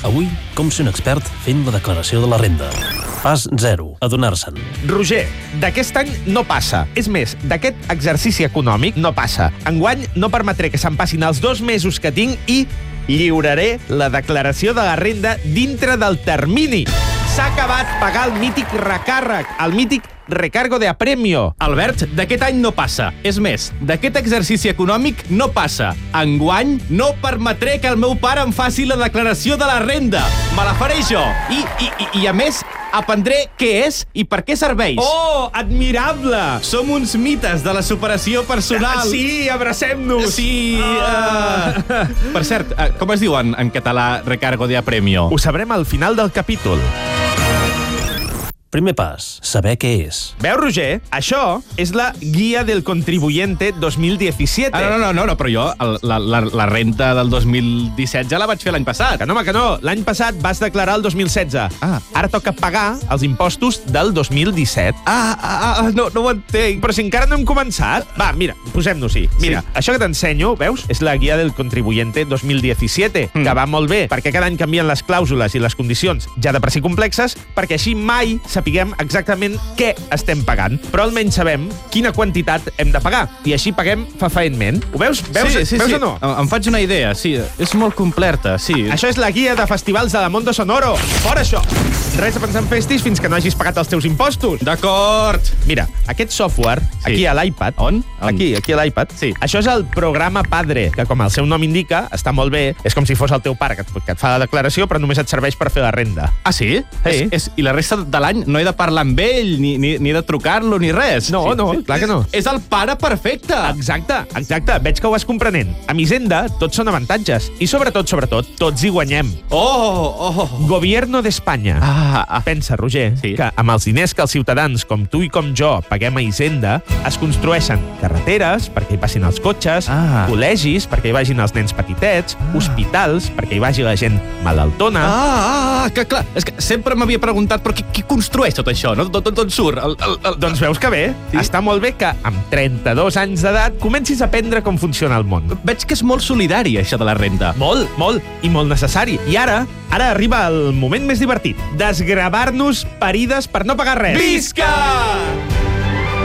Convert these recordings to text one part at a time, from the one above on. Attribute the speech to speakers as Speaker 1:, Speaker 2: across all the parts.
Speaker 1: Avui, com ser un expert fent la declaració de la renda. Pas 0. Adonar-se'n.
Speaker 2: Roger, d'aquest any no passa. És més, d'aquest exercici econòmic no passa. Enguany no permetré que se'n passin els dos mesos que tinc i lliuraré la declaració de la renda dintre del termini. S'ha acabat pagar el mític recàrrec, el mític recargo de apremio.
Speaker 3: Albert, d'aquest any no passa. És més, d'aquest exercici econòmic no passa. Enguany no permetré que el meu pare em faci la declaració de la renda. Me la faré jo. I, i, i, i a més, aprendré què és i per què serveix.
Speaker 2: Oh, admirable!
Speaker 3: Som uns mites de la superació personal.
Speaker 2: Sí, abracem-nos!
Speaker 3: Sí.
Speaker 2: Ah.
Speaker 3: Uh... Per cert, eh, com es diu en, en català recargo de apremio?
Speaker 2: Ho sabrem al final del capítol.
Speaker 1: Primer pas, saber què és.
Speaker 2: Veu, Roger? Això és la Guia del Contribuyente 2017.
Speaker 3: Ah, no, no, no, no, però jo el, la, la, la renta del 2017 ja la vaig fer l'any passat.
Speaker 2: Que no, home, que no. L'any passat vas declarar el 2016.
Speaker 3: Ah.
Speaker 2: Ara toca pagar els impostos del 2017.
Speaker 3: Ah, ah, ah no, no ho entenc.
Speaker 2: Però si encara no hem començat... Va, mira, posem-nos-hi. Mira, sí. això que t'ensenyo, veus, és la guia del contribuyente 2017, mm. que va molt bé, perquè cada any canvien les clàusules i les condicions, ja de per si complexes, perquè així mai sapiguem exactament què estem pagant, però almenys sabem quina quantitat hem de pagar, i així paguem fafaentment. Ho veus? Veus,
Speaker 3: sí, sí,
Speaker 2: veus
Speaker 3: sí. Ah.
Speaker 2: o no?
Speaker 3: Em, em faig una idea, sí. És molt completa, sí.
Speaker 2: Això és la guia de festivals de la Mondo Sonoro. Fora això! Res a pensar en festis fins que no hagis pagat els teus impostos.
Speaker 3: D'acord.
Speaker 2: Mira, aquest software,
Speaker 3: Sí.
Speaker 2: aquí a l'iPad...
Speaker 3: On? On?
Speaker 2: Aquí, aquí a l'iPad.
Speaker 3: Sí.
Speaker 2: Això és el programa Padre, que com el seu nom indica, està molt bé. És com si fos el teu pare que et, que et fa la declaració, però només et serveix per fer la renda.
Speaker 3: Ah, sí?
Speaker 2: Sí.
Speaker 3: És, és, I la resta de l'any no he de parlar amb ell, ni, ni, ni de trucar-lo, ni res.
Speaker 2: No,
Speaker 3: sí,
Speaker 2: no,
Speaker 3: sí.
Speaker 2: clar que no.
Speaker 3: És el pare perfecte.
Speaker 2: Exacte, exacte. Veig que ho vas comprenent. Amb Hisenda, tots són avantatges. I sobretot, sobretot, tots hi guanyem.
Speaker 3: Oh, oh.
Speaker 2: Gobierno d'Espanya.
Speaker 3: Ah, ah.
Speaker 2: Pensa, Roger,
Speaker 3: Sí.
Speaker 2: que amb els diners que els ciutadans com tu i com jo paguem a Hisenda, es construeixen carreteres perquè hi passin els cotxes,
Speaker 3: Ah.
Speaker 2: col·legis perquè hi vagin els nens petitets, hospitals perquè hi vagi la gent malaltona...
Speaker 3: Ah, ah, que clar, és que sempre m'havia preguntat, però qui, qui construeix tot això, no? D'on d'on surt? El, el, el,
Speaker 2: Doncs veus que bé.
Speaker 3: Sí.
Speaker 2: Està molt bé que amb 32 anys d'edat comencis a aprendre com funciona el món.
Speaker 3: doncs, Veig que és molt solidari, això de la renta.
Speaker 2: Molt, molt, i molt necessari. I ara, ara arriba el moment més divertit. Desgravar-nos parides per no pagar res.
Speaker 3: Visca!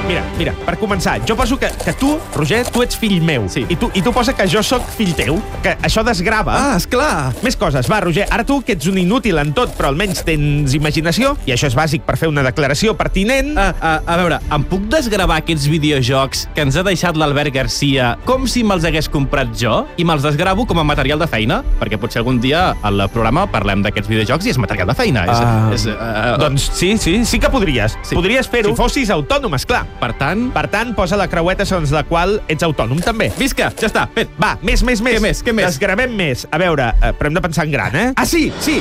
Speaker 2: Mira, mira, per començar, jo poso que, que tu, Roger, tu ets fill meu.
Speaker 3: Sí.
Speaker 2: I, tu, I tu posa que jo sóc fill teu, que això desgrava.
Speaker 3: Ah, és clar.
Speaker 2: Més coses, va, Roger, ara tu que ets un inútil en tot, però almenys tens imaginació, i això és bàsic per fer una declaració pertinent.
Speaker 3: A, a, Ah, a veure, em puc desgravar aquests videojocs que ens ha deixat l'Albert Garcia com si me'ls hagués comprat jo i me'ls desgravo com a material de feina? Perquè potser algun dia al programa parlem d'aquests videojocs i és material de feina.
Speaker 2: Ah,
Speaker 3: és, és, uh, doncs...
Speaker 2: Doncs sí, sí, sí que podries.
Speaker 3: Sí.
Speaker 2: Podries fer-ho
Speaker 3: Sí.
Speaker 2: si fossis autònom, és clar.
Speaker 3: Per tant,
Speaker 2: Per tant, posa la creueta segons la qual ets autònom, també.
Speaker 3: visca, ja està, fet.
Speaker 2: Va, més, més, més.
Speaker 3: Què més, què més?
Speaker 2: Desgravem més. A veure, eh, però hem de pensar en gran, eh? Ah, sí, sí.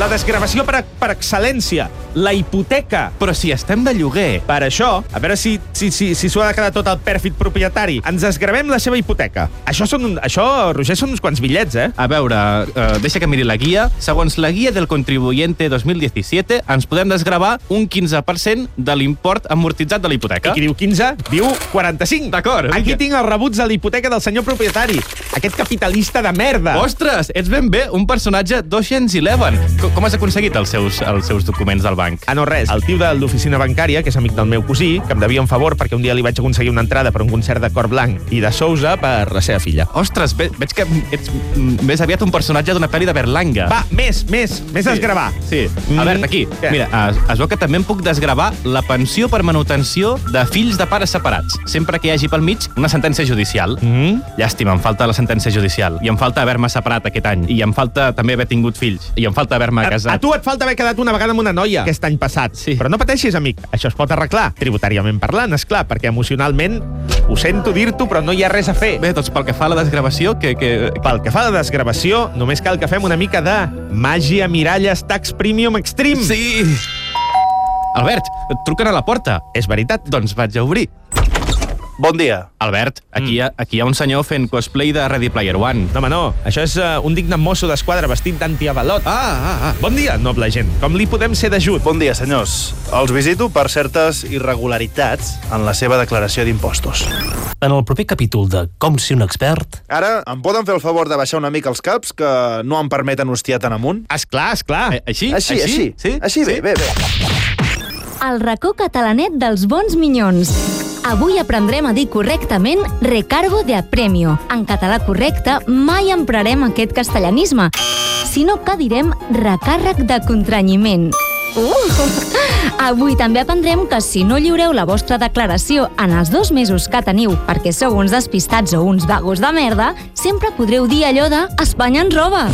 Speaker 2: La desgravació per, per excel·lència. La hipoteca.
Speaker 3: Però si estem de lloguer,
Speaker 2: Per això, a veure si si, si, si s'ho ha de quedar tot el pèrfid propietari. Ens desgravem la seva hipoteca. Això, són, un- això Roger, són uns quants bitllets, eh?
Speaker 3: A veure, eh, deixa que miri la guia. Segons la guia del contribuyente 2017, ens podem desgravar un 15% de l'import amortitzat de la hipoteca.
Speaker 2: Qui diu 15, diu 45.
Speaker 3: D'acord, vinga.
Speaker 2: Aquí tinc els rebuts de la hipoteca del senyor propietari. Aquest capitalista de merda.
Speaker 3: Ostres, ets ben bé un personatge 211. Com, com has aconseguit els seus, els seus documents del banc?
Speaker 2: Ah, no, res. El tio de l'oficina bancària, que és amic del meu cosí, que em devia un favor perquè un dia li vaig aconseguir una entrada per un concert de Cor Blanc i de Sousa per la seva filla.
Speaker 3: Ostres, ve, veig que ets mm, més aviat un personatge d'una pel·li de Berlanga.
Speaker 2: Va, més, més, més sí. desgravar.
Speaker 3: Sí.
Speaker 2: Mm.
Speaker 3: A veure, aquí.
Speaker 2: Què?
Speaker 3: Mira, es, es veu que també em puc desgravar la pensió per manutenció de fills de pares separats, sempre que hi hagi pel mig una sentència judicial.
Speaker 2: Mm?
Speaker 3: Llàstima, em falta la sentència judicial. I em falta haver-me separat aquest any. I em falta també haver tingut fills. I em falta haver-me
Speaker 2: A,
Speaker 3: casat.
Speaker 2: a tu et falta haver quedat una vegada amb una noia aquest any passat.
Speaker 3: Sí.
Speaker 2: Però no pateixis, amic. Això es pot arreglar, tributàriament parlant, és clar, perquè emocionalment ho sento dir-t'ho, però no hi ha res a fer.
Speaker 3: Bé, doncs pel que fa a la desgravació, que... que...
Speaker 2: Pel que fa a la desgravació, només cal que fem una mica de màgia, miralles, tax premium extreme.
Speaker 3: Sí! Albert, et truquen a la porta.
Speaker 2: És veritat.
Speaker 3: Doncs vaig a obrir.
Speaker 4: Bon dia.
Speaker 3: Albert, aquí, hi ha, aquí hi ha un senyor fent cosplay de Ready Player One.
Speaker 2: No, home, no. Això és uh, un digne mosso d'esquadra vestit d'antiavalot.
Speaker 3: Ah, ah, ah.
Speaker 2: Bon dia, noble gent. Com li podem ser d'ajut?
Speaker 4: Bon dia, senyors. Els visito per certes irregularitats en la seva declaració d'impostos.
Speaker 1: En el proper capítol de Com si un expert...
Speaker 4: Ara, em poden fer el favor de baixar una mica els caps que no em permeten hostiar tan amunt?
Speaker 3: Ah,
Speaker 2: Esclar, esclar.
Speaker 3: A- Eh, Així?
Speaker 4: Així, així.
Speaker 3: Sí?
Speaker 4: Així, bé,
Speaker 3: sí?
Speaker 4: bé, bé.
Speaker 5: El racó catalanet dels bons minyons. Avui aprendrem a dir correctament recargo de apremio. En català correcte mai emprarem aquest castellanisme, sinó que direm recàrrec de contranyiment. Uh! Avui també aprendrem que si no lliureu la vostra declaració en els dos mesos que teniu perquè sou uns despistats o uns vagos de merda, sempre podreu dir allò de Espanya ens roba.